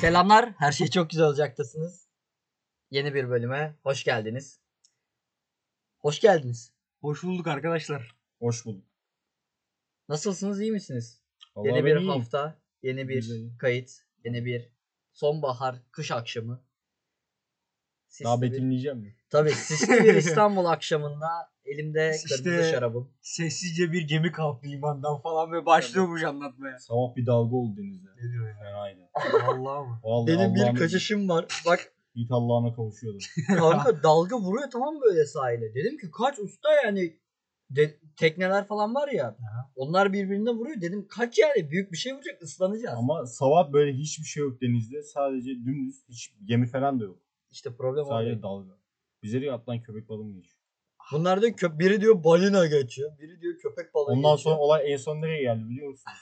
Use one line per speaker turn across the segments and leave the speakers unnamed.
Selamlar. Her şey çok güzel olacaktasınız. Yeni bir bölüme hoş geldiniz. Hoş geldiniz.
Hoş bulduk arkadaşlar.
Hoş bulduk.
Nasılsınız? iyi misiniz?
Vallahi
yeni
ben
bir
iyiyim.
hafta, yeni bir
Güzel.
kayıt, yeni bir sonbahar, kış akşamı. Sisli
Daha
bir-
betimleyeceğim mi?
Tabii sisli bir İstanbul akşamında elimde
İşte-
kırmızı şarabım.
Sessizce bir gemi kalktı limandan falan ve başlıyormuş anlatmaya.
Sabah bir dalga oldu denizde.
Ne diyor ya?
Fenaydı.
Vallahi mı?
Vallahi
Benim
Allah'ım-
bir kaçışım var. Bak
Yiğit Allah'ına kavuşuyordu.
Kanka dalga vuruyor tamam böyle sahile. Dedim ki kaç usta yani De- tekneler falan var ya.
Aha.
Onlar birbirine vuruyor. Dedim kaç yani büyük bir şey vuracak ıslanacağız.
Ama sabah böyle hiçbir şey yok denizde. Sadece dümdüz hiç gemi falan da yok.
işte problem
Sadece
orada.
dalga. Bize de atlan köpek balığı mı geçiyor?
Bunlar da kö- biri diyor balina geçiyor. Biri diyor köpek balığı
Ondan
geçiyor.
sonra olay en son nereye geldi biliyor musunuz?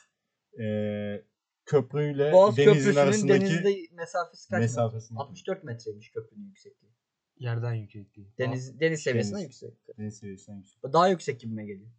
Ee, köprüyle
Boğaz
denizin
Köprüsü'nün
arasındaki
denizde mesafesi kaç metre?
mesafesini.
64 metreymiş köprünün yüksekliği.
Yerden yüksekliği.
Deniz deniz seviyesinden
deniz.
yüksek.
Deniz seviyesinden yüksek.
O Daha yüksek gibime geliyor.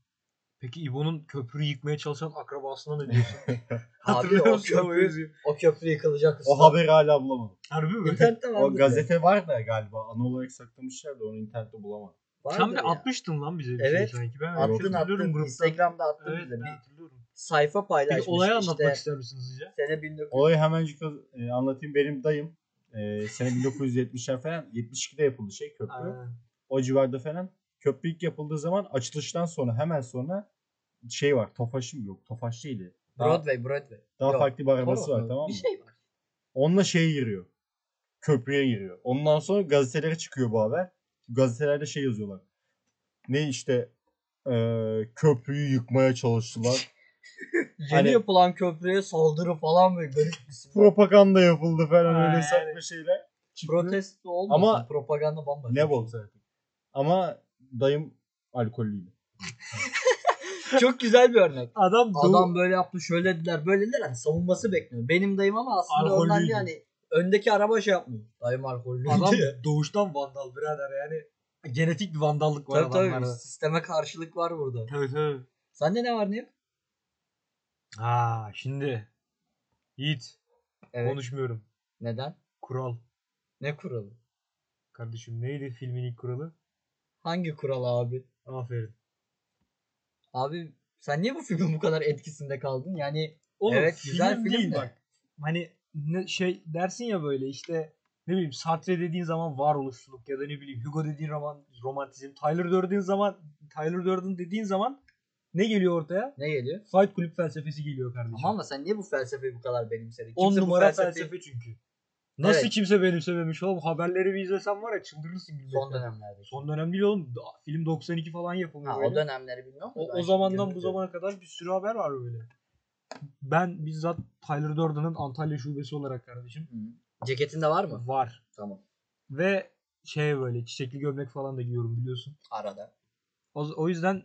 Peki İbo'nun köprüyü yıkmaya çalışan akrabasına ne diyorsun?
Abi
Hatırlıyor
o
musun? o
köprü,
yüzüğü?
o köprü yıkılacak usta.
O haberi hala bulamadım.
Harbi mi?
İnternette vardır
O
ya.
gazete var da galiba ana olarak saklamışlar da onu internette bulamadım.
Vardır
Sen
ya.
bir atmıştın lan bize bir
Evet.
şey sanki. Ben öyle
Attın
hatırlıyorum
attın.
grupta.
Instagram'da attın
Evet
bize.
ben
Bir
hatırlıyorum.
sayfa
Peki
paylaşmış.
olayı
işte
anlatmak ister misiniz hızlıca?
Sene 1900.
Olayı hemencik e, anlatayım. Benim dayım e, sene 1970'ler falan 72'de yapıldı şey köprü.
Aynen.
O civarda falan. Köprü ilk yapıldığı zaman açılıştan sonra hemen sonra şey var. Tofaşım yok. Tofaş değildi. Daha,
Broadway, Broadway.
daha
Yok,
farklı bir arabası
Toros'un
var tamam mı?
Bir şey var.
Onunla şeye giriyor. Köprüye giriyor. Ondan sonra gazetelere çıkıyor bu haber. Gazetelerde şey yazıyorlar. Ne işte e, köprüyü yıkmaya çalıştılar.
Yeni
Hani-
yapılan köprüye saldırı falan böyle garip bir şey. sürü.
Propaganda yapıldı falan
Ha,
öyle
yani.
saçma şeyler. Çıktı.
Protesto olmasın.
Ama-
propaganda bambaşka.
Ne bok zaten. Ama dayım alkollüydü.
Çok güzel bir örnek.
Adam,
Adam böyle yaptı, şöyle dediler, böyle dediler. Hani savunması bekliyor. Benim dayım ama aslında
Alkollüydü.
ondan yani öndeki araba şey yapmıyor. Dayım alkollü.
adam doğuştan vandal birader yani. Genetik bir vandallık var
tabii tabii.
adamlarda.
Sisteme karşılık var burada.
Tabii tabii.
Sende ne var ne yok?
Ha şimdi. Yiğit.
Evet.
Konuşmuyorum.
Neden?
Kural.
Ne kuralı?
Kardeşim neydi filmin ilk kuralı?
Hangi kural abi?
Aferin.
Abi sen niye bu filmin bu kadar etkisinde kaldın? Yani
Oğlum,
evet güzel film,
değil
de.
bak. Hani ne, şey dersin ya böyle işte ne bileyim Sartre dediğin zaman varoluşçuluk ya da ne bileyim Hugo dediğin roman romantizm. Tyler Durden zaman Tyler Durden dediğin zaman ne geliyor ortaya?
Ne geliyor?
Fight kulüp felsefesi geliyor kardeşim.
Ama ama sen niye bu felsefeyi bu kadar benimsedin?
On
Kimse bu
numara
felsefeyi-
felsefe çünkü. Nasıl
Evet.
kimse benimsememiş oğlum? Haberleri bir izlesen var ya çıldırırsın gülmekten.
son dönemlerde.
Son dönem değil oğlum. Da- Film 92 falan yapılıyor.
ha,
böyle.
o dönemleri bilmiyorum. da
O,
ben
o zamandan
şimdi
bu zamana kadar bir sürü haber var böyle. Ben bizzat Tyler Durden'ın Antalya şubesi olarak kardeşim
görüyorum. Hı. Ceketinde var mı?
var.
Tamam.
Ve şey böyle çiçekli gömlek falan da giyiyorum biliyorsun.
Arada.
O, o yüzden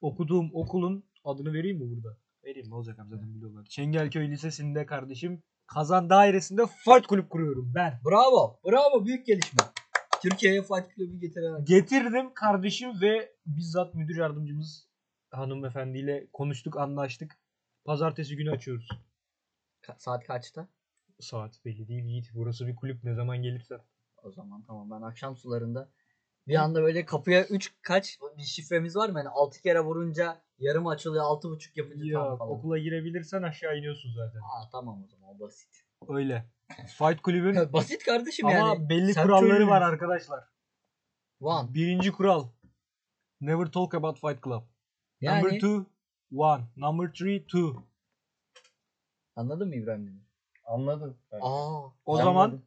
okuduğum okulun adını vereyim mi burada? Vereyim ne olacak abi zaten biliyorlar. Çengelköy Lisesi'nde kardeşim Kazan Dairesi'nde Fight Kulüp kuruyorum ben.
Bravo. Bravo. Büyük gelişme. Türkiye'ye Fight Club'ü getiren.
Getirdim kardeşim ve bizzat müdür yardımcımız hanımefendiyle konuştuk anlaştık. Pazartesi günü açıyoruz.
Ka- saat kaçta?
Saat belli değil Yiğit. Burası bir kulüp ne zaman gelirsen.
O zaman tamam ben akşam sularında bir anda böyle kapıya 3 kaç bir şifremiz var mı? Yani 6 kere vurunca yarım açılıyor 6.5 yapınca tam
Yok
falan.
okula girebilirsen aşağı iniyorsun zaten.
Aa, tamam o zaman o basit.
Öyle. Fight kulübün
Ya basit kardeşim
ama
yani.
belli
sen
kuralları
köylüyüz.
var arkadaşlar.
One.
Birinci kural. Never talk about Fight Club.
Yani
Number two, one. Number three, two.
anladın mı İbrahim Demir?
Anladım. Ben.
Aa.
O
ben
zaman-
anladım.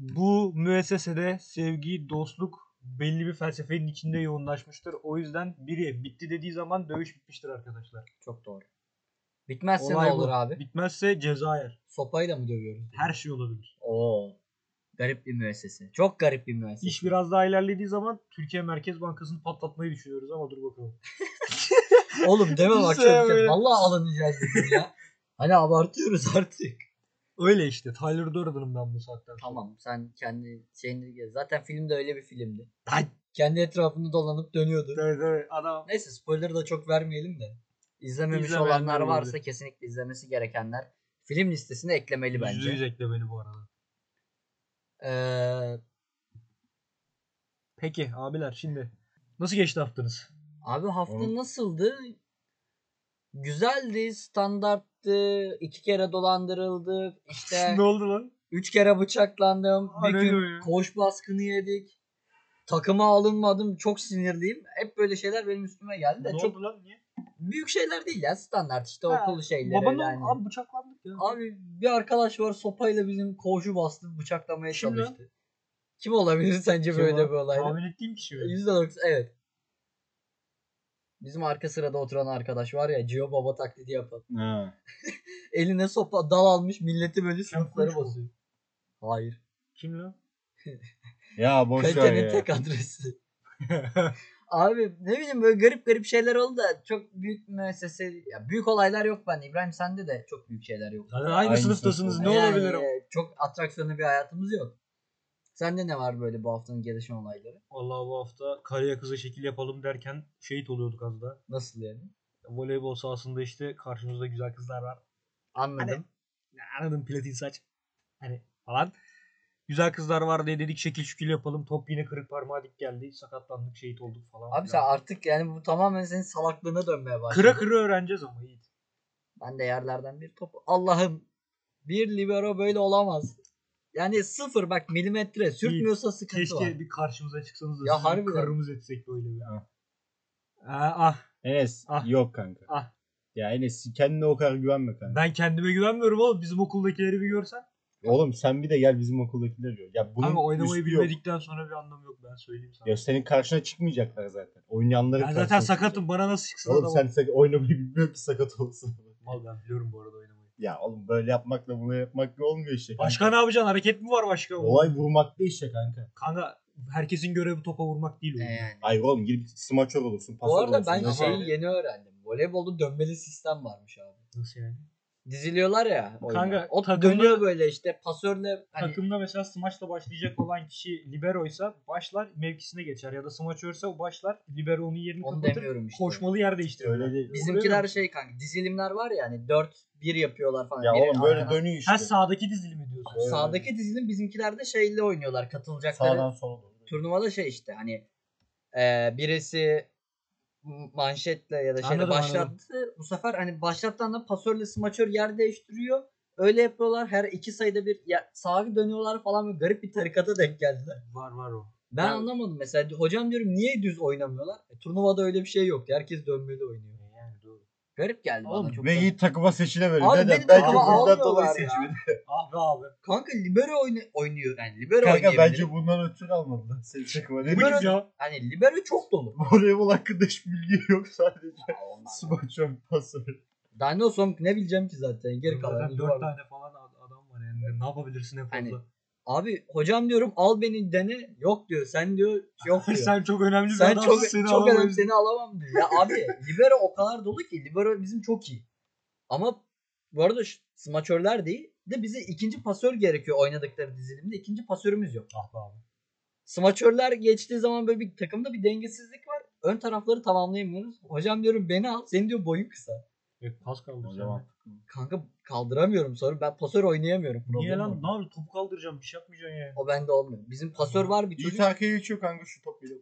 Bu müessesede sevgi, dostluk belli bir felsefenin içinde yoğunlaşmıştır. O yüzden biri bitti dediği zaman dövüş bitmiştir arkadaşlar.
çok doğru. Bitmezse
Olay
ne
bu.
olur abi?
Bitmezse ceza yer.
Sopayla mı dövüyoruz?
Her şey olabilir.
Oo. Garip bir müessese. Çok garip bir müessese.
İş biraz daha ilerlediği zaman Türkiye Merkez Bankası'nı patlatmayı düşünüyoruz ama dur bakalım.
Oğlum deme bak
Bize
şöyle. bir şey.
böyle-
Vallahi alınacağız bugün ya. Hani abartıyoruz artık.
Öyle işte Tyler Durden'ım ben bu saatten sonra.
Tamam sen kendi şeyini gez. Zaten film de öyle bir filmdi.
Hay-
Kendi etrafını dolanıp dönüyordu.
Evet evet adam.
Neyse spoiler'ı da çok vermeyelim de. İzlememiş
İzlemeyenler
olanlar varsa
olabilir.
kesinlikle izlemesi gerekenler. film listesine eklemeli
Yüzde yüz
bence.
eklemeli bu arada.
Ee,
Peki abiler şimdi nasıl geçti haftanız?
abi hafta
Onun-
nasıldı? Güzeldi, standarttı. iki kere dolandırıldık. İşte
ne oldu lan?
üç kere bıçaklandım.
Aa,
bir
ne diyor
gün
ya?
koğuş baskını yedik. Takıma alınmadım. Çok sinirliyim. Hep böyle şeyler benim üstüme geldi de
ne
çok
oldu lan niye?
büyük şeyler değil ya. Standart işte
Ha,
okul şeyleri.
Babanın
yani.
abi bıçaklandık ya.
Abi bir arkadaş var sopayla bizim koğuşu bastı bıçaklamaya
Kim lan?
çalıştı. Kim olabilir sence
Kim
böyle
lan?
bir olayda?
Tahmin ettiğim kişi mi?
%90 evet. Bizim arka sırada oturan arkadaş var ya Cio Baba taklidi yapan.
Ha.
Eline sopa dal almış milleti böyle sınıfları
Kunçko.
basıyor. Hayır.
Kim lan?
Ya boş ver
Kalitenin
ya.
tek adresi. Abi ne bileyim böyle garip garip şeyler oldu da çok büyük müessese ya büyük olaylar yok bende. İbrahim sende de çok büyük şeyler yok.
Zaten aynı,
Aynı
sınıftasınız ne
sınıfta.
Yani,
olabilir?
e, Çok atraksiyonlu bir hayatımız yok. Sende ne var böyle bu haftanın gelişen olayları?
Vallahi bu hafta karıya kıza şekil yapalım derken şehit oluyorduk az daha.
Nasıl yani?
Voleybol sahasında işte karşımızda güzel kızlar var.
Anladım.
Hani- Ya Anladın platin saç. Hani falan. Güzel kızlar var diye dedik şekil şükül yapalım. Top yine kırık parmağa dik geldi. Sakatlandık şehit olduk falan.
Abi sen
filan.
artık yani bu tamamen senin salaklığına dönmeye başladı.
Kıra kıra öğreneceğiz ama Yiğit.
Ben de yerlerden bir top. Allah'ım bir libero böyle olamaz. Yani sıfır bak milimetre sürtmüyorsa sıkıntı
Keşke
var.
bir karşımıza çıksanız da
Ya
ya sizin
harbiden.
karımız etsek böyle bir.
Ah.
Ah. Ah, ah
Enes
Ah.
yok kanka.
ah.
Ya Enes kendine o kadar güvenme kanka.
Ben kendime güvenmiyorum oğlum. Bizim okuldakileri bir görsen.
Oğlum sen bir de gel bizim okuldakiler diyor. Ya bunun
Ama oynamayı
üstü yok.
bilmedikten sonra bir anlamı yok ben söyleyeyim sana.
Ya senin karşına çıkmayacaklar zaten. Oynayanların
Ben zaten
karşına
sakatım bana nasıl çıksın
çıkacak. Oğlum
adam?
sen sak- oynamayı bilmiyor ki sakat olsun.
Mal ben biliyorum bu arada oynamayı.
ya oğlum böyle yapmakla bunu yapmakla olmuyor işte. kanka.
Başka ne yapacaksın? Hareket mi var başka?
Olay vurmakta işte kanka.
Kanka herkesin görevi topa vurmak değil.
Ee,
oyun.
yani.
Hayır oğlum gidip smaçör olursun. Pasör
Bu arada
olursun.
ben
ne
şeyi
şey-
yeni öğrendim. Voleybolda dönmeli sistem varmış abi.
Nasıl yani?
Diziliyorlar ya. oyuna.
Kanka,
o
takımda-
dönüyor böyle işte pasörle hani
Takımda mesela smaçla başlayacak olan kişi liberoysa başlar mevkisine geçer ya da smaçörse o başlar libero onun yerini
Onu
kapatır.
demiyorum işte.
Koşmalı yer değiştirir.
Öyle değil.
Bizimkiler şey kanka dizilimler var ya hani 4-1 yapıyorlar falan.
Ya
Biri
oğlum böyle
arkada-
dönüyor işte.
Ha sağdaki dizilimi diyorsun.
Evet.
Sağdaki dizilim bizimkiler de şeyle oynuyorlar katılacakları.
Sağdan sola doğru.
Turnuvada şey işte hani e, birisi manşetle ya da şeyle
Anladım,
başlattı. Bu sefer hani başlattan da pasörle smaçör yer değiştiriyor. Öyle yapıyorlar. Her iki sayıda bir ya, sağa dönüyorlar falan böyle garip bir tarikata denk geldiler.
Var var o.
Ben
Yani-
anlamadım mesela. Hocam diyorum niye düz oynamıyorlar? E, turnuvada öyle bir şey yok. Herkes dönmeli oynuyor.
E, Yani doğru.
Garip geldi bana çok.
Ve
da-
Yiğit takıma seçile verir.
Abi
Neden?
beni de
Belki
takıma
bundan dolayı
almıyorlar ya.
seçmedi.
Ah be abi.
Kanka libero oyna- oynuyor. Yani libero
Kanka
oynayabilir.
bence bundan ötürü almadılar. Seni takıma. Ne
Bu
bileyim
kim ya?
Hani libero çok dolu.
Voleybol hakkında hiçbir bilgi yok sadece.
Ya onlar-
Smaçör pasör.
Daha ne olsam ne bileceğim ki zaten geri kalan.
Zaten dört tane falan ad- adam var yani. Ne yapabilirsin en
Hani-
fazla?
Abi hocam diyorum al beni dene. Yok diyor. Sen diyor yok diyor. sen
Sen çok önemli bir adamsın.
çok
seni
çok önemli
alamayız.
seni alamam diyor. Ya abi libero o kadar dolu ki libero bizim çok iyi. Ama bu arada şu- smaçörler değil de bize ikinci pasör gerekiyor oynadıkları dizilimde. ikinci pasörümüz yok.
Ah be abi.
Smaçörler geçtiği zaman böyle bir takımda bir dengesizlik var. Ön tarafları tamamlayamıyoruz. Hocam diyorum beni al. Senin diyor boyun kısa.
Evet pas kaldı.
O zaman.
Kanka kaldıramıyorum sonra. Ben pasör oynayamıyorum.
Niye
Problem
lan?
o.
Ne yapayım? Topu kaldıracağım. Bir şey yapmayacaksın yani.
O bende olmuyor. Bizim pasör var bir
Yiğit
çocuk.
arkaya geçiyor kanka şu top bile.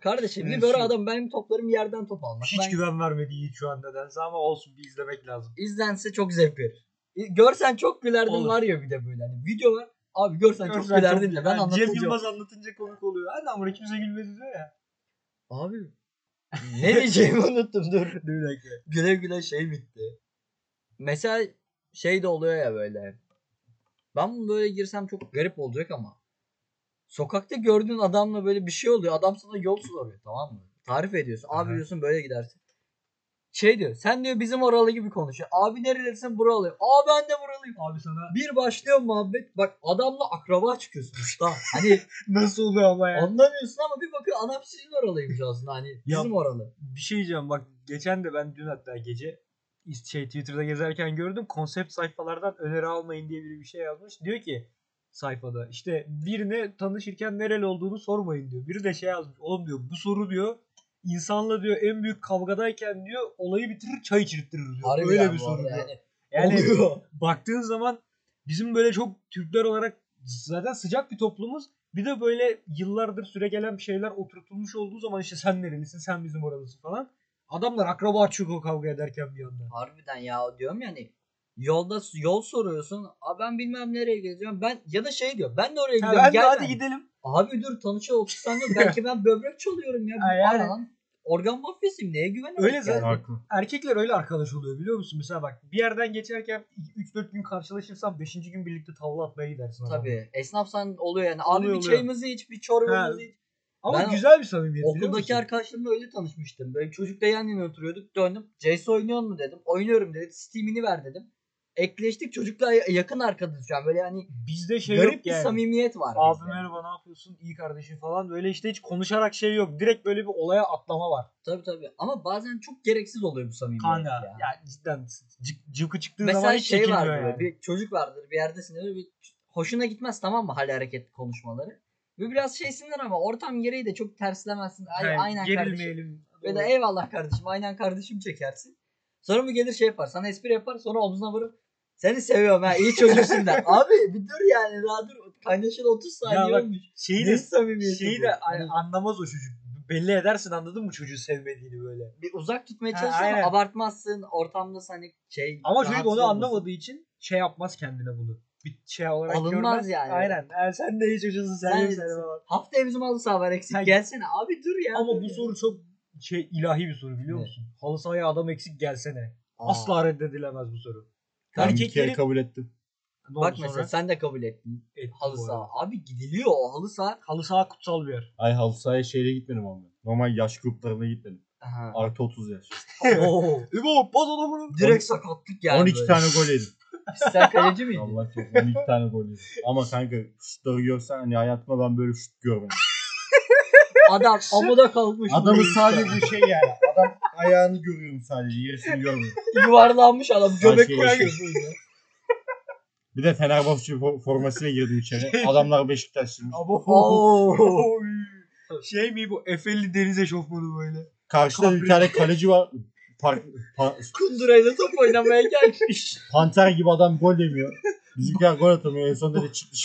Kardeşim
Evet,
libero
şu-
adam benim toplarım yerden top almak.
Hiç
Ben-
güven vermedi Yiğit şu an nedense ama olsun bir izlemek lazım.
izlense çok zevk verir. İ- Görsen çok gülerdin
Olur.
var ya bir de böyle. Hani video var. Abi görsen, çok gülerdin de ben
Yani Cem
anlatacağım.
Yılmaz anlatınca komik oluyor. Hadi amına kimse gülmedi diyor ya.
Abi ne diyeceğimi unuttum dur.
Bir dakika.
Güle güle şey bitti. Mesela şey de oluyor ya böyle. Ben bunu böyle girsem çok garip olacak ama. Sokakta gördüğün adamla böyle bir şey oluyor. Adam sana yol soruyor tamam mı? Tarif ediyorsun. Abi
Aha.
diyorsun böyle gidersin. Şey diyor. Sen diyor bizim oralı gibi konuşuyor. Abi nerelisin buralıyım. Aa ben de buralıyım.
Abi sana
Bir başlıyor muhabbet. Bak adamla akraba çıkıyorsun usta. Hani
nasıl oluyor ama ya?
anlamıyorsun ama bir bakıyor adam sizin oralıymış aslında. Hani
Ya-
bizim oralı.
Bir şey diyeceğim bak geçen de ben dün hatta gece is- şey Twitter'da gezerken gördüm konsept sayfalardan öneri almayın diye biri bir şey yazmış. Diyor ki sayfada işte birine tanışırken nereli olduğunu sormayın diyor. Biri de şey yazmış oğlum diyor bu soru diyor insanla diyor en büyük kavgadayken diyor olayı bitirir çay içirttirir diyor.
Harbiden
Öyle bir
bu
soru
arada
diyor.
yani.
Yani
Oluyor.
baktığın zaman bizim böyle çok Türkler olarak zaten sıcak bir toplumuz. Bir de böyle yıllardır süregelen bir şeyler oturtulmuş olduğu zaman işte sen nerelisin sen bizim oralısın falan. Adamlar akraba çuko kavga ederken bir anda.
Harbiden ya diyorum yani yolda yol soruyorsun. Aa ben bilmem nereye gideceğim. Ben ya da şey diyor. Ben de oraya
Ha,
gidiyorum.
ben de
gel
hadi
ben.
gidelim.
Abi dur tanışa otursan yok. Belki ben böbrek çalıyorum ya.
Ha,
Bu
yani.
alan organ mafyasıyım. Neye güveniyorum?
Öyle zaten.
Haklı.
Erkekler öyle arkadaş oluyor biliyor musun? Mesela bak bir yerden geçerken 3-4 gün karşılaşırsan 5. gün birlikte tavla atmaya gidersin. adamla.
Tabii. Esnaf sen oluyor yani. Abi
Oluyor,
bir
oluyor.
çayımızı iç, bir çorbamızı
Ha,
iç.
Ama
Ben
güzel bir samimiyet biliyor
Okuldaki
musun?
arkadaşlarımla öyle tanışmıştım. Böyle çocukla yan yana oturuyorduk. Döndüm. CS oynuyor mu dedim. Oynuyorum dedi. Steam'ini ver dedim. Ekleştik çocukla ya- yakın arkadaş şu an. Böyle hani
Bizde şey
garip
yok
bir
yani.
samimiyet var.
Abi
bizde.
merhaba ne yapıyorsun? İyi kardeşim falan. Böyle işte hiç konuşarak şey yok. Direkt böyle bir olaya atlama var.
Tabii tabii. Ama bazen çok gereksiz oluyor bu samimiyet
Kanka
ya.
ya, cidden cık, cıvkı çıktığı zaman
Mesela
hiç
şey
çekinmiyor
vardır.
yani.
Bir çocuk vardır. Bir yerdesin öyle bir hoşuna gitmez tamam mı hal hareket konuşmaları. Ve biraz şeysinler ama ortam gereği de çok terslemezsin. Ay,
Yani
aynen kardeşim.
gerilmeyelim.
Ve de
Doğru.
eyvallah kardeşim aynen kardeşim çekersin. Sonra bu gelir şey yapar. Sana espri yapar sonra omzuna vurup seni seviyorum ha iyi çocuksun der. Abi bir dur yani daha dur. Kaynaşalı 30 saniye
Ya bak,
olmuş. Ne
şeyi de,
samimiyeti
şeyi
bu?
de
Hani
a- anlamaz o çocuk. Belli edersin anladın mı çocuğu sevmediğini böyle.
bir uzak tutmaya
Ha,
çalışırsın ama
aynen.
abartmazsın. Ortamda hani şey
Ama çocuk
rahatsız
onu
olmasın.
anlamadığı için şey yapmaz kendine bunu. Bir şey olarak
Alınmaz
görmez.
yani.
Aynen. Yani sen de iyi çocuğusun sen,
Sen-
de sen falan.
Haftaya bizim halı saha var eksik.
Sen-
Gelsene abi dur ya.
Ama
dur
bu
ya.
soru çok şey ilahi bir soru biliyor
Ne?
musun? Halı sahaya adam eksik gelsene.
Aa.
Asla reddedilemez bu soru.
Ben bir
Erkeklerin
kere kabul ettim.
Ne oldu
Bak
sonra?
mesela sen de kabul ettin.
Ettim
Halı
bu
saha.
arada.
Abi gidiliyor o halı saha.
Halı saha kutsal bir yer.
Ay halı sahaya şeyle gitmedim ama. Normal yaş gruplarına gitmedim.
Aha.
Artı 30 yaş.
Oo.
İbo baz adamını.
Direkt sakatlık geldi.
12 tane gol yedim.
Sen kaleci miydin?
Allah çok 12 tane gol yedim. Ama kanka şutları görsen hani hayatımda ben böyle şut görmedim.
Adam amuda kalkmış.
Adamın
Neyse.
sadece şey yani. Adam ayağını görüyorum sadece. Gerisini görmüyorum.
yuvarlanmış adam göbek
şey
koyan gibi.
yaşıyor. Bir de Fenerbahçe fo- formasıyla girdim içeri. Adamlar Beşiktaşlıymış.
Abo.
Oo.
Oy. şey mi bu? Efeli deniz eşofmanı böyle.
Karşıda bir tane kaleci var. Par- pa-
Kundurayla top oynamaya gelmiş.
panter gibi adam gol yemiyor. Bizimkiler gol atamıyor. En sonunda da çıktı.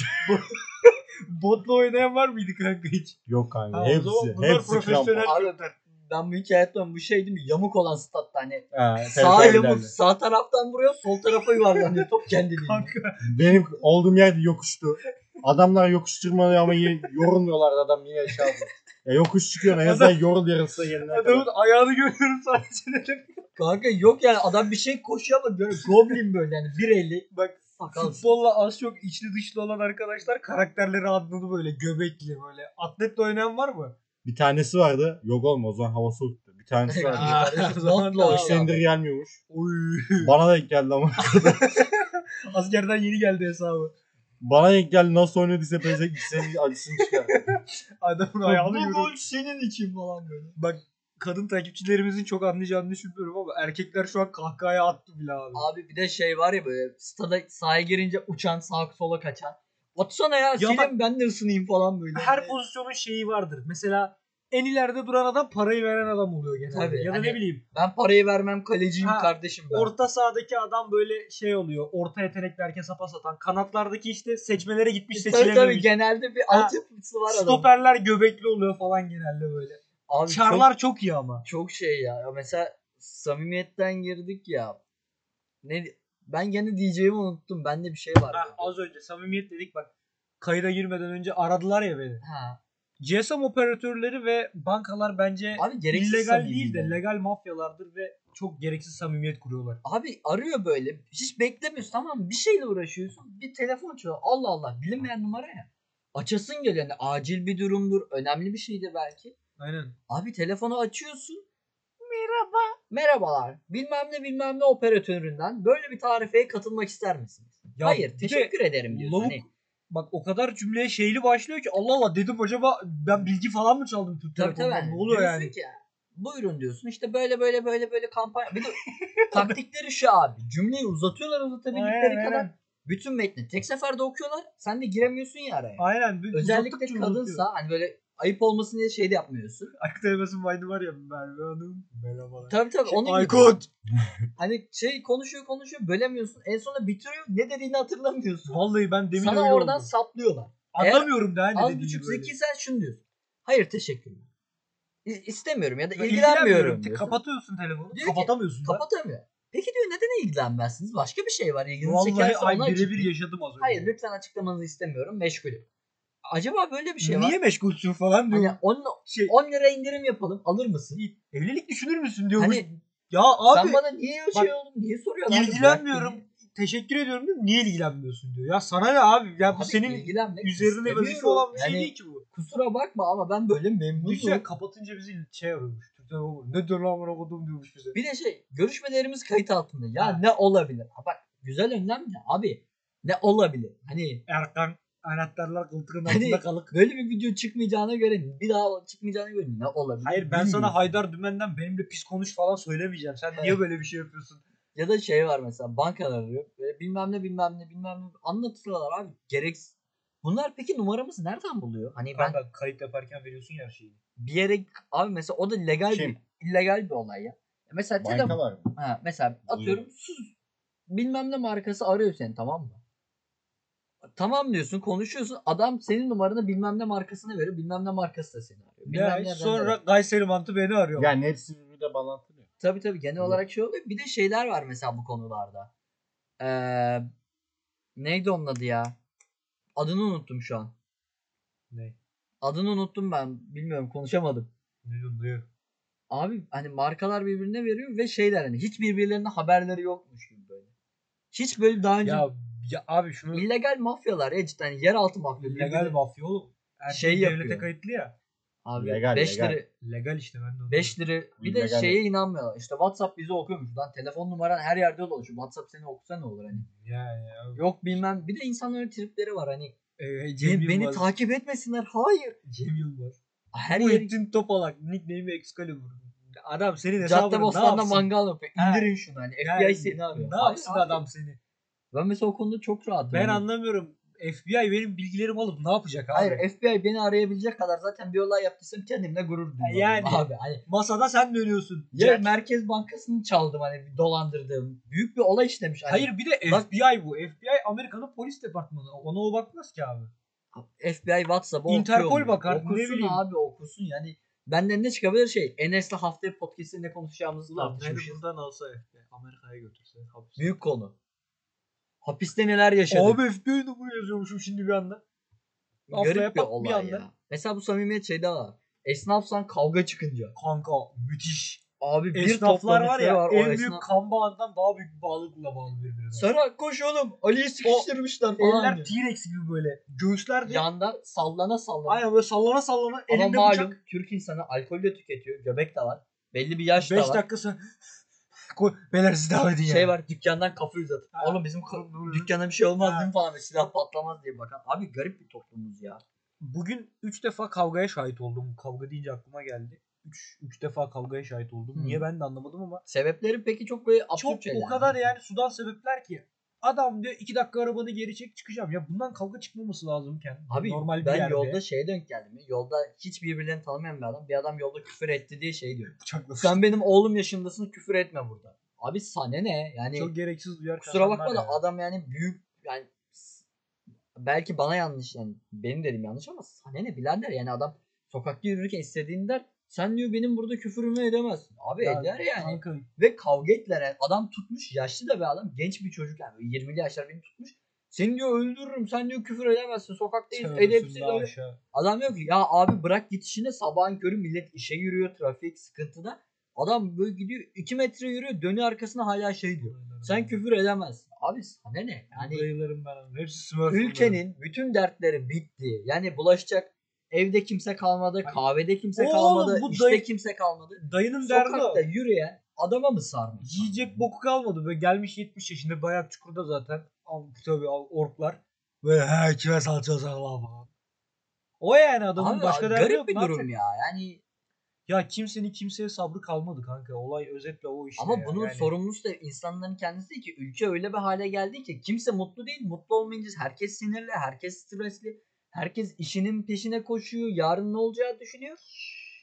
Botla oynayan var mıydı kanka hiç?
Yok kanka.
Ha, o
hepsi.
zaman bunlar
Hepsi
profesyonel
kramp.
Abi
çocuklar.
ben bu hikaye etmem. Bu şey değil mi? Yamuk olan statta hani.
Ha,
Sağ
Fenerbahçe'den
yamuk.
de.
Sağ taraftan vuruyor. Sol tarafa yuvarlanıyor. Top kendiliğinden.
Kanka.
Benim olduğum yerde yokuştu. Adamlar yokuş tırmanıyor ama yine yorulmuyorlardı adam yine aşağı atıyor. Ya yokuş çıkıyor en azından yorul yarısına gelene kadar.
Adamın ayağını görüyorum sadece. dedim.
Kanka yok yani adam bir şey koşuyor ama böyle goblin böyle yani bir eli.
Bak
Sakal.
futbolla az çok içli dışlı olan arkadaşlar karakterleri adını böyle göbekli böyle. Atletle oynayan var mı?
Bir tanesi vardı. Yok oğlum o zaman hava soğuktu. Bir tanesi vardı.
Aa,
Kardeşim,
o zaman
notla
da
oynuyor.
Üç senedir gelmiyormuş.
Oy.
Bana denk geldi ama.
Askerden yeni geldi hesabı.
Bana denk geldi nasıl oynadıysa benzer senin acısını çıkar.
Adamın ayağını
bu
görüyorum.
gol senin için falan böyle.
Bak kadın takipçilerimizin çok anlayacağını düşünmüyorum ama erkekler şu an kahkahaya attı bile abi.
Abi bir de şey var ya böyle stada sahaya girince uçan sağa sola kaçan. Atsana ya, silin
bak-
ben de ısınayım falan böyle.
Her pozisyonun şeyi vardır. Mesela en ileride duran adam parayı veren adam oluyor genelde.
Tabii,
ya da
hani-
ne bileyim
Ben parayı vermem kaleciyim
Ha,
kardeşim ben.
orta sahadaki adam böyle şey oluyor. Orta yetenekli herkese pas atan. Kanatlardaki işte seçmelere gitmiş
E, tabii tabii
seçilememiş.
genelde bir
Ha,
altyapısı var adamın.
Stoperler göbekli oluyor falan genelde böyle.
Abi
Çarlar çok, iyi ama.
çok, çok şey ya. Ya Mesela samimiyetten girdik ya. Ne ben gene diyeceğimi unuttum. Bende bir şey var.
Ha, az önce samimiyet dedik bak. Kayıda girmeden önce aradılar ya beni.
Ha.
GSM operatörleri ve bankalar bence
Abi gereksiz
illegal değil
samimiydi.
de legal mafyalardır ve çok gereksiz samimiyet kuruyorlar.
Abi arıyor böyle. Hiç beklemiyorsun tamam mı? Bir şeyle uğraşıyorsun. Bir telefon çalıyor. Allah Allah bilinmeyen numara ya. Açasın geliyor. Yani acil bir durumdur. Önemli bir şeydir belki.
Aynen.
Abi telefonu açıyorsun. Merhaba. Merhabalar. Bilmem ne bilmem ne operatöründen böyle bir tarifeye katılmak ister misiniz?
Ya
Hayır
bir
teşekkür ederim diyorsun.
lavuk-
Hani
Bak o kadar cümleye şeyli başlıyor ki Allah Allah dedim acaba ben bilgi falan mı çaldım Türk
Tabii tabii.
Telekom'dan
yani.
ne oluyor
Diyorsun
yani?
ki, buyurun diyorsun işte böyle böyle böyle böyle kampanya. Bir de taktikleri şu abi. Cümleyi uzatıyorlar uzatabildikleri
Aynen,
kadar.
aynen.
Bütün metni tek seferde okuyorlar. Sen de giremiyorsun ya araya.
Aynen. bir uzattıkça
Özellikle
uzatıyor.
kadınsa hani böyle ayıp olmasın diye şey de yapmıyorsun.
Aykut Elmas'ın baydı var ya Merve Hanım. Merhabalar.
Tabii tabii onun gibi.
Aykut.
Hani şey konuşuyor konuşuyor bölemiyorsun. En sonunda bitiriyor. Ne dediğini hatırlamıyorsun.
Vallahi ben demin
Sana
öyle
oradan
oldum.
saplıyorlar. Eğer
Anlamıyorum daha ne
Az
dediğini
buçuk
böyle.
zekiysen şunu diyorsun. Hayır teşekkürler. İ- İstemiyorum ya da
Ya
ilgilenmiyorum
Te-
diyorsun.
Kapatıyorsun telefonu.
Diyor ki,
Kapatamıyorsun. da.
Kapatamıyor. Peki diyor neden ilgilenmezsiniz? Başka bir şey var. İlginizi
Vallahi
çekerse
ay
ona
birebir
açıklayın.
yaşadım az önce.
Hayır lütfen açıklamanızı istemiyorum. Meşgulüm. Acaba böyle bir şey
Niye
var.
meşgulsün falan diyor.
Hani 10,
şey,
10 lira indirim yapalım. Alır mısın?
evlilik düşünür müsün diyormuş.
Hani-
ya abi
Sen bana niye öyle şey oldun? Niye soruyorsun? abi?
ilgilenmiyorum.
Bırak
teşekkür ediyorum diyorum. Niye ilgilenmiyorsun diyor. Ya sana ne abi? Ya
beni. Abi
bu
e-
senin
ilgilenmek
üzerine vazife
istemiyorum.
olan bir şey
Yani
değil ki bu.
Kusura bakma ama ben böyle memnunum.
Düşünsene kapatınca bizi şey arıyormuş. Türkler olmuş. Ne diyor lan bana kodum diyormuş bize.
Bir de şey görüşmelerimiz kayıt altında. Ya
Ha.
ne olabilir? Ha bak güzel önlem de abi ne olabilir? Hani
Erkan anahtarlar koltuğun
Hani-
altında kalık.
böyle bir video çıkmayacağına göre bir daha çıkmayacağına göre ne olabilir?
Hayır ben
Bilmiyorum.
sana Haydar Dümen'den benimle pis konuş falan söylemeyeceğim. Sen niye böyle bir şey yapıyorsun?
Ya da şey var mesela bankalar arıyor. Böyle bilmem ne bilmem ne bilmem ne anlatıyorlar abi. Gereksiz. Bunlar peki numaramızı nereden buluyor? Hani ben
Kanka kayıt yaparken veriyorsun ya her şeyi.
bir yere abi mesela o da legal
Kim?
bir illegal bir olay ya. Mesela telefon
Bankalar mı?
Ha, mesela
Buyurun.
atıyorum sus. Bilmem ne markası arıyor seni tamam mı? Tamam diyorsun konuşuyorsun adam senin numaranı bilmem ne markasını veriyor bilmem ne markası da seni arıyor. Bilmem
Ya
nereden
sonra
arıyor.
Kayseri mantı beni arıyor.
Yani hepsi birbirine bağlantılı.
Tabii tabii genel
Hı.
olarak şey oluyor. Bir de şeyler var mesela bu konularda. Ee, neydi onun adı ya? Adını unuttum şu an.
Ne?
Adını unuttum ben bilmiyorum konuşamadım.
Ne diyorsun duyuyor.
Abi hani markalar birbirine veriyor ve şeyler hani hiç birbirlerine haberleri yokmuş gibi böyle. Hiç böyle daha önce
Ya, ya abi şunu
İllegal mafyalar ya cidden yeraltı mafya.
legal
Birbirine-
mafya oğlum. Erkek
Şey
devlete
yapıyor.
kayıtlı ya.
Abi
Legal,
5
legal.
lira
Legal işte ben de onu
5 lira bir de
Legal.
şeye inanmıyorlar. İşte WhatsApp bizi okuyormuş lan telefon numaran her yerde dolaşıyor. WhatsApp seni okusa ne olur hani.
diyorum. Ya ya.
Yok bilmem. Bir de insanların tripleri var hani.
Ee,
"Be-
Cem
beni
Yılmaz.
takip etmesinler. Hayır.
Cem Yılmaz.
Her yer
Muhittin Topalak. Nickname'i Excalibur. Adam senin
cadde
hesabını ne
bostanında
yapsın?
mangal yapıyor.
Ha.
İndirin şunu hani. FBI
Yani
seni arıyor.
Ne
Hayır
yapsın
abi.
adam seni?
Ben mesela o konuda çok rahatım.
Ben
Hani-
anlamıyorum. FBI benim bilgilerimi alıp ne yapacak abi?
Hayır FBI beni arayabilecek kadar zaten bir olay yaptıysam kendimle gurur duyuyorum.
Yani.
Abi hani
Masada sen dönüyorsun.
Ya
Jack.
Merkez Bankası'nı çaldım hani bir dolandırdım. Büyük bir olay işlemiş. Hani
Hayır bir de
Bak-
FBI bu. FBI Amerika'nın polis departmanı. Ona o bakmaz ki abi.
FBI WhatsApp'a
Interpol
okuyor mu?
bakar,
Okusun
ne bileyim.
abi okusun yani. Benden ne çıkabilir şey? Enes'le haftaya podcast'te ne konuşacağımızı tartışmışız.
buradan alsa FBI. Amerika'ya götürse. hapse.
Büyük şey konu. Hapiste neler yaşadık.
Abi FBI'de bunu yazıyormuşum şimdi bir anda. haftaya
Garip bir
bak bir
olay
anda.
ya. Mesela bu samimiyet şeyde var. Esnafsan kavga çıkınca.
Kanka müthiş.
Abi bir
Esnaflar var
toplanışları
ya
var, o
en
esnaf-
büyük kan bağından daha büyük bir bağlılıkla bağlı birbirine.
Sara koş oğlum. Ali'yi sıkıştırmışlar falan.
Eller
diyor.
T-Rex gibi böyle. Göğüsler de
Yanda sallana sallana.
aynen böyle sallana sallana
Ama
elinde
malum
bıçak.
Türk insanı alkol de tüketiyor. Göbek de var. Belli bir yaş
5
da var.
dakika sonra koy beyler siz devam edin
şey
ya.
var dükkandan kafa uzatıp
Ha.
oğlum bizim ka-
Ne oluyor?
dükkana bir şey olmaz
Ha.
değil mi falan silah patlamaz diye bakan. Abi garip bir toplumuz ya.
Bugün 3 defa kavgaya şahit oldum. Kavga deyince aklıma geldi. 3 3 defa kavgaya şahit oldum.
Hı.
Niye ben de anlamadım ama
Sebepleri peki çok böyle absürt
çok
şeyler.
o kadar yani sudan sebepler ki. Adam diyor 2 dakika arabanı geri çek çıkacağım. Ya bundan kavga çıkmaması lazımken.
Abi
normal bir
ben
yerde
yolda şeye denk geldim. ya. Yolda hiç birbirlerini tanımayan bir adam. Bir adam yolda küfür etti diye şey diyor.
bıçakla
Sen benim oğlum yaşındasın küfür etme burada. Abi sana ne? Yani
çok gereksiz duyar.
kusura
kaçanlar
bakma da
ya.
adam yani büyük yani s- belki bana yanlış yani benim dedim yanlış ama sana ne birader yani adam sokakta yürürken istediğini der. Sen diyor benim burada küfürümü edemezsin. Abi
Ya
eder yani.
kanka,
Ve kavga ettiler. Yani adam tutmuş. Yaşlı da bir adam. Genç bir çocuk yani. 20'li yaşlar beni tutmuş. Seni diyor öldürürüm. Sen diyor küfür edemezsin. Sokaktayız.
terörsün
Edepsiz
daha
öyle.
aşağı.
Adam diyor ki ya abi bırak git işine. Sabahın körü millet işe yürüyor. Trafik sıkıntıda. Adam böyle gidiyor. 2 metre yürüyor. Dönüyor arkasına hala şey diyor. Sen küfür edemezsin. Abi sana ne? Yani
Bayılırım ben. Hepsi smurf.
ülkenin bütün dertleri bitti. Yani bulaşacak evde kimse kalmadı,
Ay.
kahvede kimse
Oğlum,
kalmadı,
bu
işte
dayı-
kimse kalmadı.
dayının derdi o.
Sokakta yürüyen adama mı sarmış?
Yiyecek boku kalmadı. Böyle gelmiş 70 yaşında bayak çukurda zaten. Al, tabii al, orklar. Böyle he kime salça sağlam falan. O yani adamın
Abi,
başka derdi
garip
yok.
bir
Ne
durum
yapacak?
ya. Yani
Ya kimsenin kimseye sabrı kalmadı kanka. Olay özetle o işte.
ama
ya.
bunun
Yani
sorumlusu da insanların kendisi değil ki ülke öyle bir hale geldi ki kimse mutlu değil. Mutlu olmayınca herkes sinirli, herkes stresli. Herkes işinin peşine koşuyor. Yarın ne olacağı düşünüyor.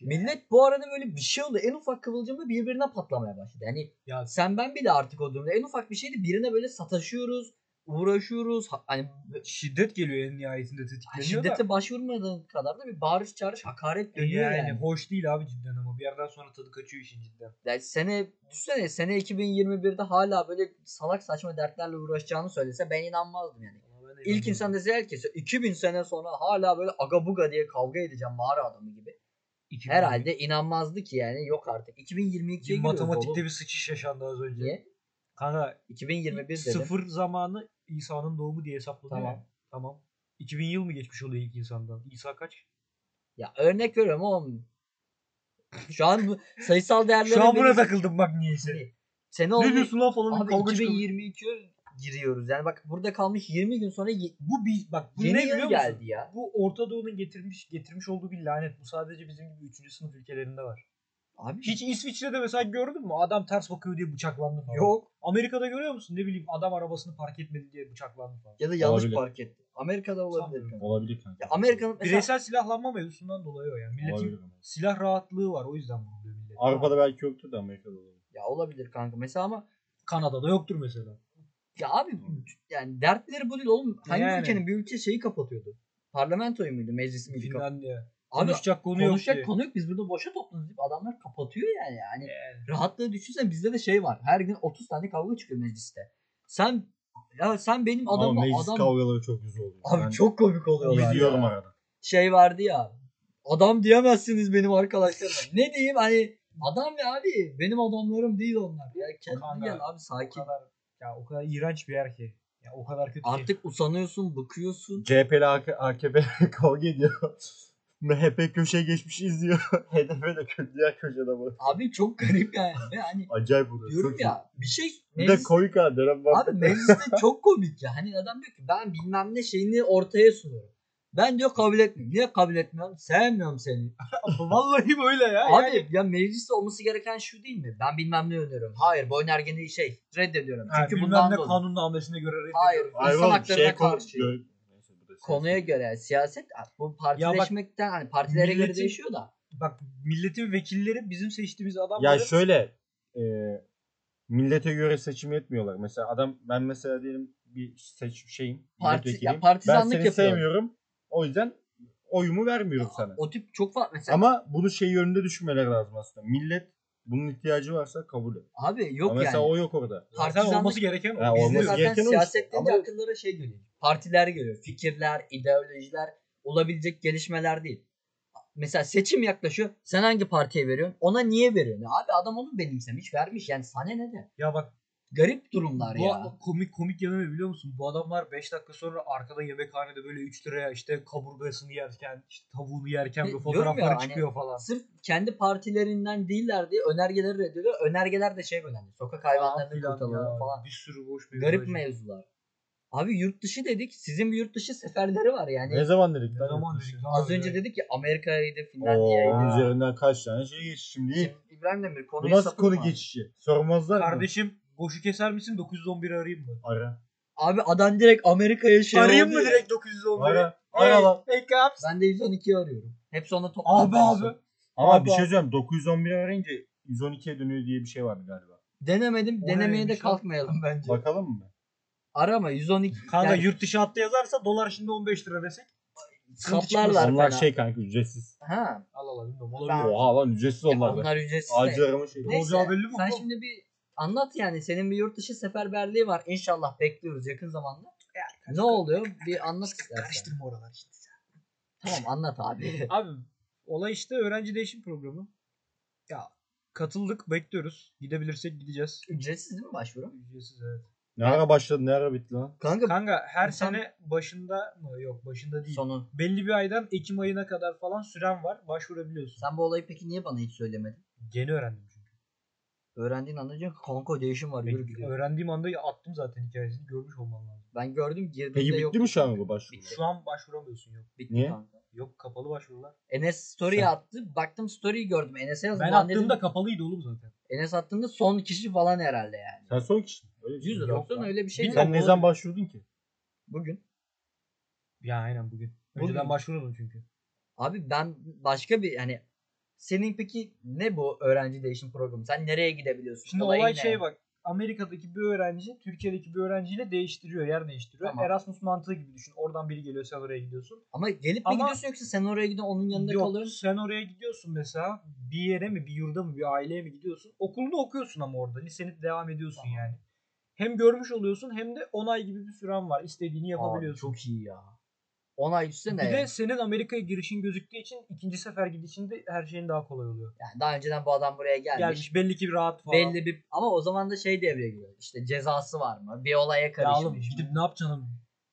Millet bu arada böyle bir şey oldu. En ufak kıvılcımda birbirine patlamaya başladı. Yani
Ya
sen ben bile artık o durumda en ufak bir şeydi birine böyle sataşıyoruz, uğraşıyoruz. Ha- Hani
şiddet geliyor en nihayetinde
Ha,
tetikleniyor da.
Şiddete başvurmadığın kadar da bir bağırış çağırış hakaret dönüyor
Yani,
yani.
hoş değil abi cidden ama bir yerden sonra tadı kaçıyor işin cidden.
Yani sene düşünsene sene 2021'de hala böyle salak saçma dertlerle uğraşacağını söylese ben inanmazdım yani.
Ama ben de
İlk
inanıyorum.
insan dese ki 2000 sene sonra hala böyle aga buga diye kavga edeceğim mağara adamı gibi.
2000
Herhalde inanmazdı ki yani yok artık. 2022'ye giriyoruz
matematikte
oğlum.
bir sıçış yaşandı az önce.
Niye?
Kanka
2021 dedim.
sıfır zamanı İsa'nın doğumu diye hesaplanıyor.
Tamam.
ya. Tamam. 2000 yıl mı geçmiş oluyor ilk insandan? İsa kaç?
Ya örnek veriyorum oğlum. Şu an bu sayısal değerlere
Şu an buna
benim-
takıldım bak niyeyse.
Hani Sene
Ne
olmuş.
diyorsun lan falan bir
Abi
kavga çıkıyor.
2022'ye giriyoruz. Yani bak burada kalmış 20 gün sonra ye-
Bu bir bak bu
yeni
ne
yıl
biliyor
geldi
musun?
ya.
Bu Orta Doğu'nun getirmiş getirmiş olduğu bir lanet. Bu sadece bizim gibi 3. sınıf ülkelerinde var.
Abi
Hiç İsviçre'de mesela gördün mü? Adam ters bakıyor diye bıçaklandı falan.
yok.
Amerika'da görüyor musun? Ne bileyim adam arabasını park etmedi diye bıçaklandı falan.
Ya da yanlış
Olabilir.
park etti. Amerika'da olabilir.
Sanmıyorum.
Olabilir kanka.
Ya Amerika'nın mesela
Bireysel silahlanma mevzusundan dolayı o yani. Milletin
Olabilir ama.
silah rahatlığı var o yüzden vuruluyor millet.
Avrupa'da belki yoktur da Amerika'da olabilir.
ya olabilir kanka mesela ama
Kanada'da yoktur mesela.
ya abi yani dertleri bu değil oğlum. Hangi
Yani.
ülkenin bir ülke şeyi kapatıyordu? Parlamentoyu muydu? Meclisi miydi? Kap-
Finlandiya.
Abi
konuşacak konu
konuşacak
yok. diye.
konu yok. Biz burada boşa toplanıyoruz deyip adamlar kapatıyor yani. yani.
Yani.
rahatlığı düşünsen bizde de şey var. Her gün 30 tane kavga çıkıyor mecliste. Sen ya sen benim
Ama
adamla
meclis
adam
kavgaları çok güzel oluyor.
abi
Ben
çok komik oluyorlar.
izliyorum
ya.
arada.
Şey vardı ya. Adam diyemezsiniz benim arkadaşlarıma. ne diyeyim hani adam ya abi benim adamlarım değil onlar. Ya kendine
Kanka,
gel abi
O
sakin.
kadar, ya o kadar iğrenç bir yer ki. Ya o kadar kötü ki.
Artık usanıyorsun, bıkıyorsun.
CHP'li AK- AKP kavga ediyor. MHP köşeye geçmiş izliyor. HDP de kö- diğer köşede var.
Abi çok garip yani. Ve hani
Acayip oluyor.
diyorum
çok iyi.
ya bir şey
Bir de
meclis-
komik abi. Dönem var.
Abi mecliste çok komik ya. Hani adam diyor ki ben bilmem ne şeyini ortaya sunuyorum. Ben diyor kabul etmiyorum. Niye kabul etmiyorum? Sevmiyorum seni.
Vallahi böyle
Abi
ya. yani.
ya mecliste olması gereken şu değil mi? Ben bilmem ne öneriyorum. Hayır bu önergeyi şey reddediyorum.
Ha,
Çünkü
bilmem
bundan
ne
dolayı.
kanunnamesine göre reddediyor.
Hayır
Hayır
insan
oğlum,
haklarına
şey konu-
karşı.
gö- Neyse, bu da
Konuya göre siyaset bu partileşmekten hani partilere göre
milletin-
değişiyor da.
Bak milletin vekilleri bizim seçtiğimiz adamları.
Ya şöyle e, millete göre seçim etmiyorlar. Mesela adam ben mesela diyelim bir seç şeyim.
Parti-
milletvekiliyim.
ya partizanlık
ben seni
yapıyorum.
sevmiyorum. O yüzden oyumu vermiyorum sana.
O tip çok farklı mesela.
Ama bunu şey yönünde düşünmeleri lazım aslında. Millet bunun ihtiyacı varsa kabul et.
abi
Ama
yok
mesela
yani.
o yok orada.
Zaten
Partizanlık-
olması gereken o.
Ha,
Biz de-
olması
Bizde zaten
gereken o
siyaset
işte.
deyince
Ama-
akıllara şey geliyor. Partiler geliyor. Fikirler, ideolojiler, olabilecek gelişmeler değil. Mesela seçim yaklaşıyor. Sen hangi partiye veriyorsun? Ona niye veriyorsun? Abi adam onu benimsemiş, vermiş. Yani sana ne de?
Ya bak
Garip durumlar
bu
ya.
komik komik yanı ne biliyor musun? Bu adamlar 5 dakika sonra arkada yemekhanede böyle 3 liraya işte kaburgasını yerken, işte tavuğunu yerken
E,
böyle
diyorum ya
fotoğrafları
hani-
çıkıyor falan.
Sırf kendi partilerinden değiller diye önergeleri reddediyor. Önergeler de şey böyle hani sokak hayvanlarını
Falan filan
kurtaralım
ya.
falan.
Bir sürü boş bir
Garip
mevzu.
mevzular. Abi yurt dışı dedik. Sizin bir yurt dışı seferleri var yani.
ne zaman dedik?
Ne
lan?
zaman dedik lan
Az
öyle?
önce dedik ki Amerika'ydı,
Oo,
Finlandiya'ydı.
üzerinden kaç tane şey geç şimdi.
İbrahim Demir
Bu
konuyu
nasıl konu
sapıtma.
geçişi? Sormazlar mı?
Kardeşim boşu keser misin 911'i arayayım mı?
Ara.
Abi adam direkt Amerika'ya şey
arayayım
oldu
mı
ya.
direkt 911'i?
Ara. Ara lan.
Peki abi.
Ben de 112'yi arıyorum. Hepsi onda
Abi
toplandı.
abi.
Ama
Abi
bir şey
abi.
söyleyeyim. 911 arayınca 112'ye dönüyor diye bir şey vardı galiba.
Denemedim.
O
denemeye de
neymiş lan?
kalkmayalım bence.
Bakalım mı?
Arama 112.
Kanka
Yani
yurt dışı hattı yazarsa dolar şimdi 15 lira desek. sıkıntı
saplarlar
onlar
fena.
şey kanka ücretsiz.
Ha.
Allah Allah bilmiyorum.
Ben-
Olabilir.
Oha lan ücretsiz
Onlar,
onlar. da.
onlar ücretsiz. de.
Acil arama şey.
Ne? olacağı belli mi
sen
oğlum?
şimdi bir anlat yani. Senin bir yurt dışı seferberliği var. İnşallah bekliyoruz yakın zamanda. ne oluyor? Bir anlat istersen.
Karıştırma oralar işte.
Tamam anlat abi.
Abi olay işte öğrenci değişim programı. Ya katıldık bekliyoruz. Gidebilirsek gideceğiz.
Ücretsiz değil mi başvuru?
Ücretsiz evet.
Ne ara başladı ne ara bitti lan?
Kanka,
Kanka her
İnsan-
sene başında mı? Yok başında değil.
sonu.
Belli bir aydan Ekim ayına kadar falan süren var. Başvurabiliyorsun.
Sen bu olayı peki niye bana hiç söylemedin?
Yeni öğrendim çünkü.
Öğrendiğin anda diyorsun ki, kanka değişim var. Yürü gidiyor.
Öğrendiğim anda ya attım zaten hikayesini. Görmüş olman lazım.
Ben gördüm girdiğimde
Peki
yok.
bitti mi şu an bu başvuru?
Bitti.
Şu an başvuramıyorsun yok.
Bitti
Niye?
kanka.
Yok kapalı başvurular.
Enes story attı. Baktım story'yi gördüm. Enes'e yazdım.
Ben
Lan
attığımda
dedim,
kapalıydı oğlum zaten.
Enes attığında son kişi falan herhalde yani.
Sen son kişi. Öyle bir şey
100
mi?
lira.
yok
Yoksa
lan.
öyle bir şey
Bilmiyorum.
yok.
Sen ne zaman başvurdun ki?
Bugün.
Ya aynen bugün. Önceden
Oğlum-
başvuruyordum çünkü.
Abi ben başka bir hani senin peki ne bu öğrenci değişim programı? Sen nereye gidebiliyorsun?
Şimdi
Olayı
olay
ne?
şey bak. Amerika'daki bir öğrenci Türkiye'deki bir öğrenciyle değiştiriyor, yer değiştiriyor.
Tamam.
Erasmus mantığı gibi düşün. Oradan biri geliyor sen oraya gidiyorsun.
Ama gelip mi
Ama-
gidiyorsun yoksa sen oraya gidin onun yanında
Yok,
kalıyorsun.
sen oraya gidiyorsun mesela bir yere mi, bir yurda mı, bir aileye mi gidiyorsun? Okulunu okuyorsun ama orada. Liseni devam ediyorsun
Tamam.
yani. Hem görmüş oluyorsun hem de 10 ay gibi bir süren var. İstediğini yapabiliyorsun.
Abi çok iyi ya. 10 ay üstüne
Bir
ne?
de senin Amerika'ya girişin gözüktüğü için ikinci sefer gidişinde her şeyin daha kolay oluyor.
Yani daha önceden bu adam buraya gelmiş.
Gelmiş belli ki bir rahat falan.
Belli bir ama o zaman da şey devreye giriyor. İşte cezası var mı? Bir olaya
Ya oğlum
karışmış.
gidip
mı?
ne yapacaksın?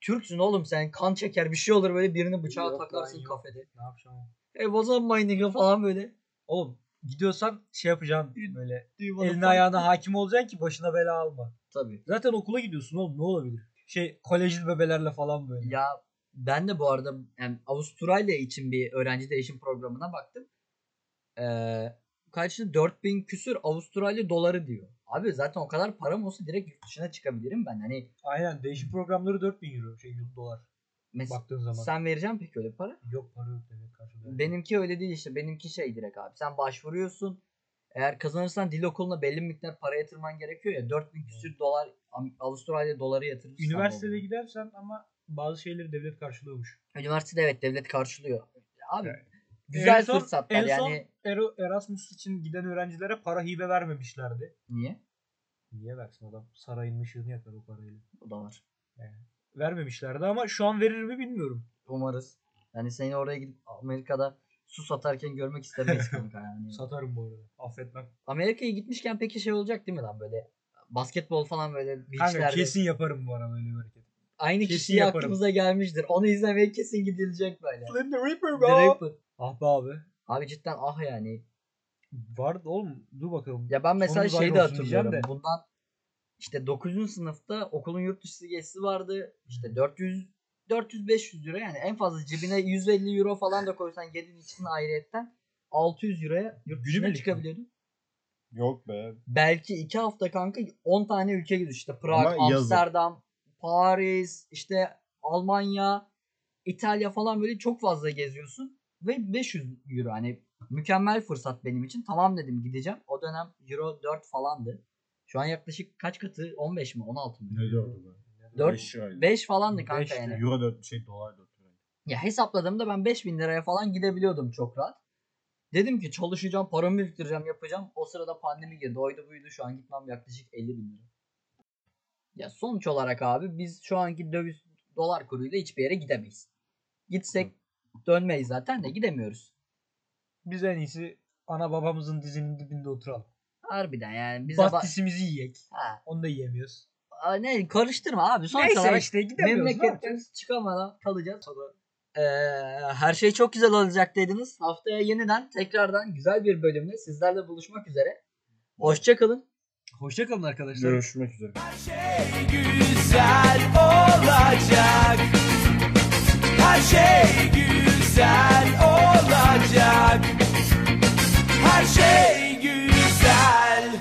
Türksün oğlum sen kan çeker bir şey olur böyle birini bıçağa
Yok lan,
takarsın
yok.
kafede.
Ne yapacaksın?
E o zaman mining falan böyle.
Oğlum gidiyorsan şey yapacaksın
Bir-
böyle.
Elini
Eline ayağına hakim olacaksın ki başına bela alma.
Tabii.
Zaten okula gidiyorsun oğlum ne olabilir? Şey kolejli bebelerle falan böyle.
Ya ben de bu arada yani Avustralya için bir öğrenci değişim programına baktım. Ee, kaçtı 4000 küsür Avustralya doları diyor. Abi zaten o kadar param olsa direkt yurt dışına çıkabilirim ben. Hani
Aynen değişim programları 4000 euro şey dolar
mesela
baktığın zaman.
sen vereceğim peki öyle para?
Yok para yok demek karşılığında.
Benimki öyle değil işte. Benimki şey direkt abi. Sen başvuruyorsun. Eğer kazanırsan dil okuluna belli bir miktar para yatırman gerekiyor ya. 4000 küsür dolar Am- Avustralya doları yatırırsan.
Üniversitede
oluyor.
gidersen ama bazı şeyleri devlet karşılıyormuş.
Üniversitede evet devlet karşılıyor. Abi
Evet.
güzel
En son-
fırsatlar
en son-
yani.
Ero- Erasmus için giden öğrencilere para hibe vermemişlerdi.
Niye?
Niye versin adam? Sarayın ışığını yakar o parayla.
O da var.
Vermemişlerdi ama şu an verir mi bilmiyorum.
Umarız. Yani seni oraya gidip Amerika'da su satarken görmek istemeyiz kanka yani.
Satarım bu arada. Affetmem.
Amerika'ya gitmişken peki şey olacak değil mi lan böyle basketbol falan böyle
Kanka
beachlerde.
kesin yaparım bu arada öyle bir hareket.
Aynı
kesin
kişiye
yaparım.
aklımıza gelmiştir. Onu izlemeye kesin gidilecek böyle.
Slim the Reaper
Direkt-
Ah be abi.
Abi cidden ah yani.
Vardı oğlum. Dur bakalım.
Ya ben mesela
Sonumuz
şeyi
ayrı
de
olsun
hatırlıyorum.
diyeceğim de.
Bundan işte 9. sınıfta okulun yurt dışı gezisi vardı.
Hmm.
İşte 400 400-500 euro yani en fazla cebine 150 euro falan da koysan yedin için ayrıyetten 600 euroya yurt dışına
Günübirlik mi?
çıkabiliyordun.
Yok be.
Belki 2 hafta kanka 10 tane ülke gidiyor işte Prag,
Ama yazın.
Amsterdam, Paris, işte Almanya, İtalya falan böyle çok fazla geziyorsun ve 500 euro hani mükemmel fırsat benim için. Tamam dedim gideceğim. O dönem euro 4 falandı. Şu an yaklaşık kaç katı? 15 mi? 16 mı?
Ne dördü be?
Dört-
Beş liraydı.
5 falandı kanka
Beşti.
yani.
Euro dört şey dolar dört liraydı.
Ya hesapladığımda ben 5000 liraya falan gidebiliyordum çok rahat. Dedim ki çalışacağım, paramı biriktireceğim, yapacağım. O sırada pandemi girdi. Oydu buydu. Şu an gitmem yaklaşık 50 bin lira. Ya sonuç olarak abi biz şu anki döviz dolar kuruyla hiçbir yere gidemeyiz. Gitsek dönmeyiz zaten de gidemiyoruz.
Biz en iyisi ana babamızın dizinin dibinde oturalım.
Harbiden yani bize ba-
Bastisimizi yiyek.
ha,
Onu da yiyemiyoruz.
a- ne karıştırma abi. Sonuç
Neyse
olarak
işte gidemiyoruz. ne yapacağız?
memleketten çıkamadan kalacağız. Ee, her şey çok güzel olacak dediniz. Haftaya yeniden tekrardan güzel bir bölümle sizlerle buluşmak üzere. Hoşçakalın.
Hoşça kalın arkadaşlar.
Görüşmek üzere.
güzel olacak. Her şey şey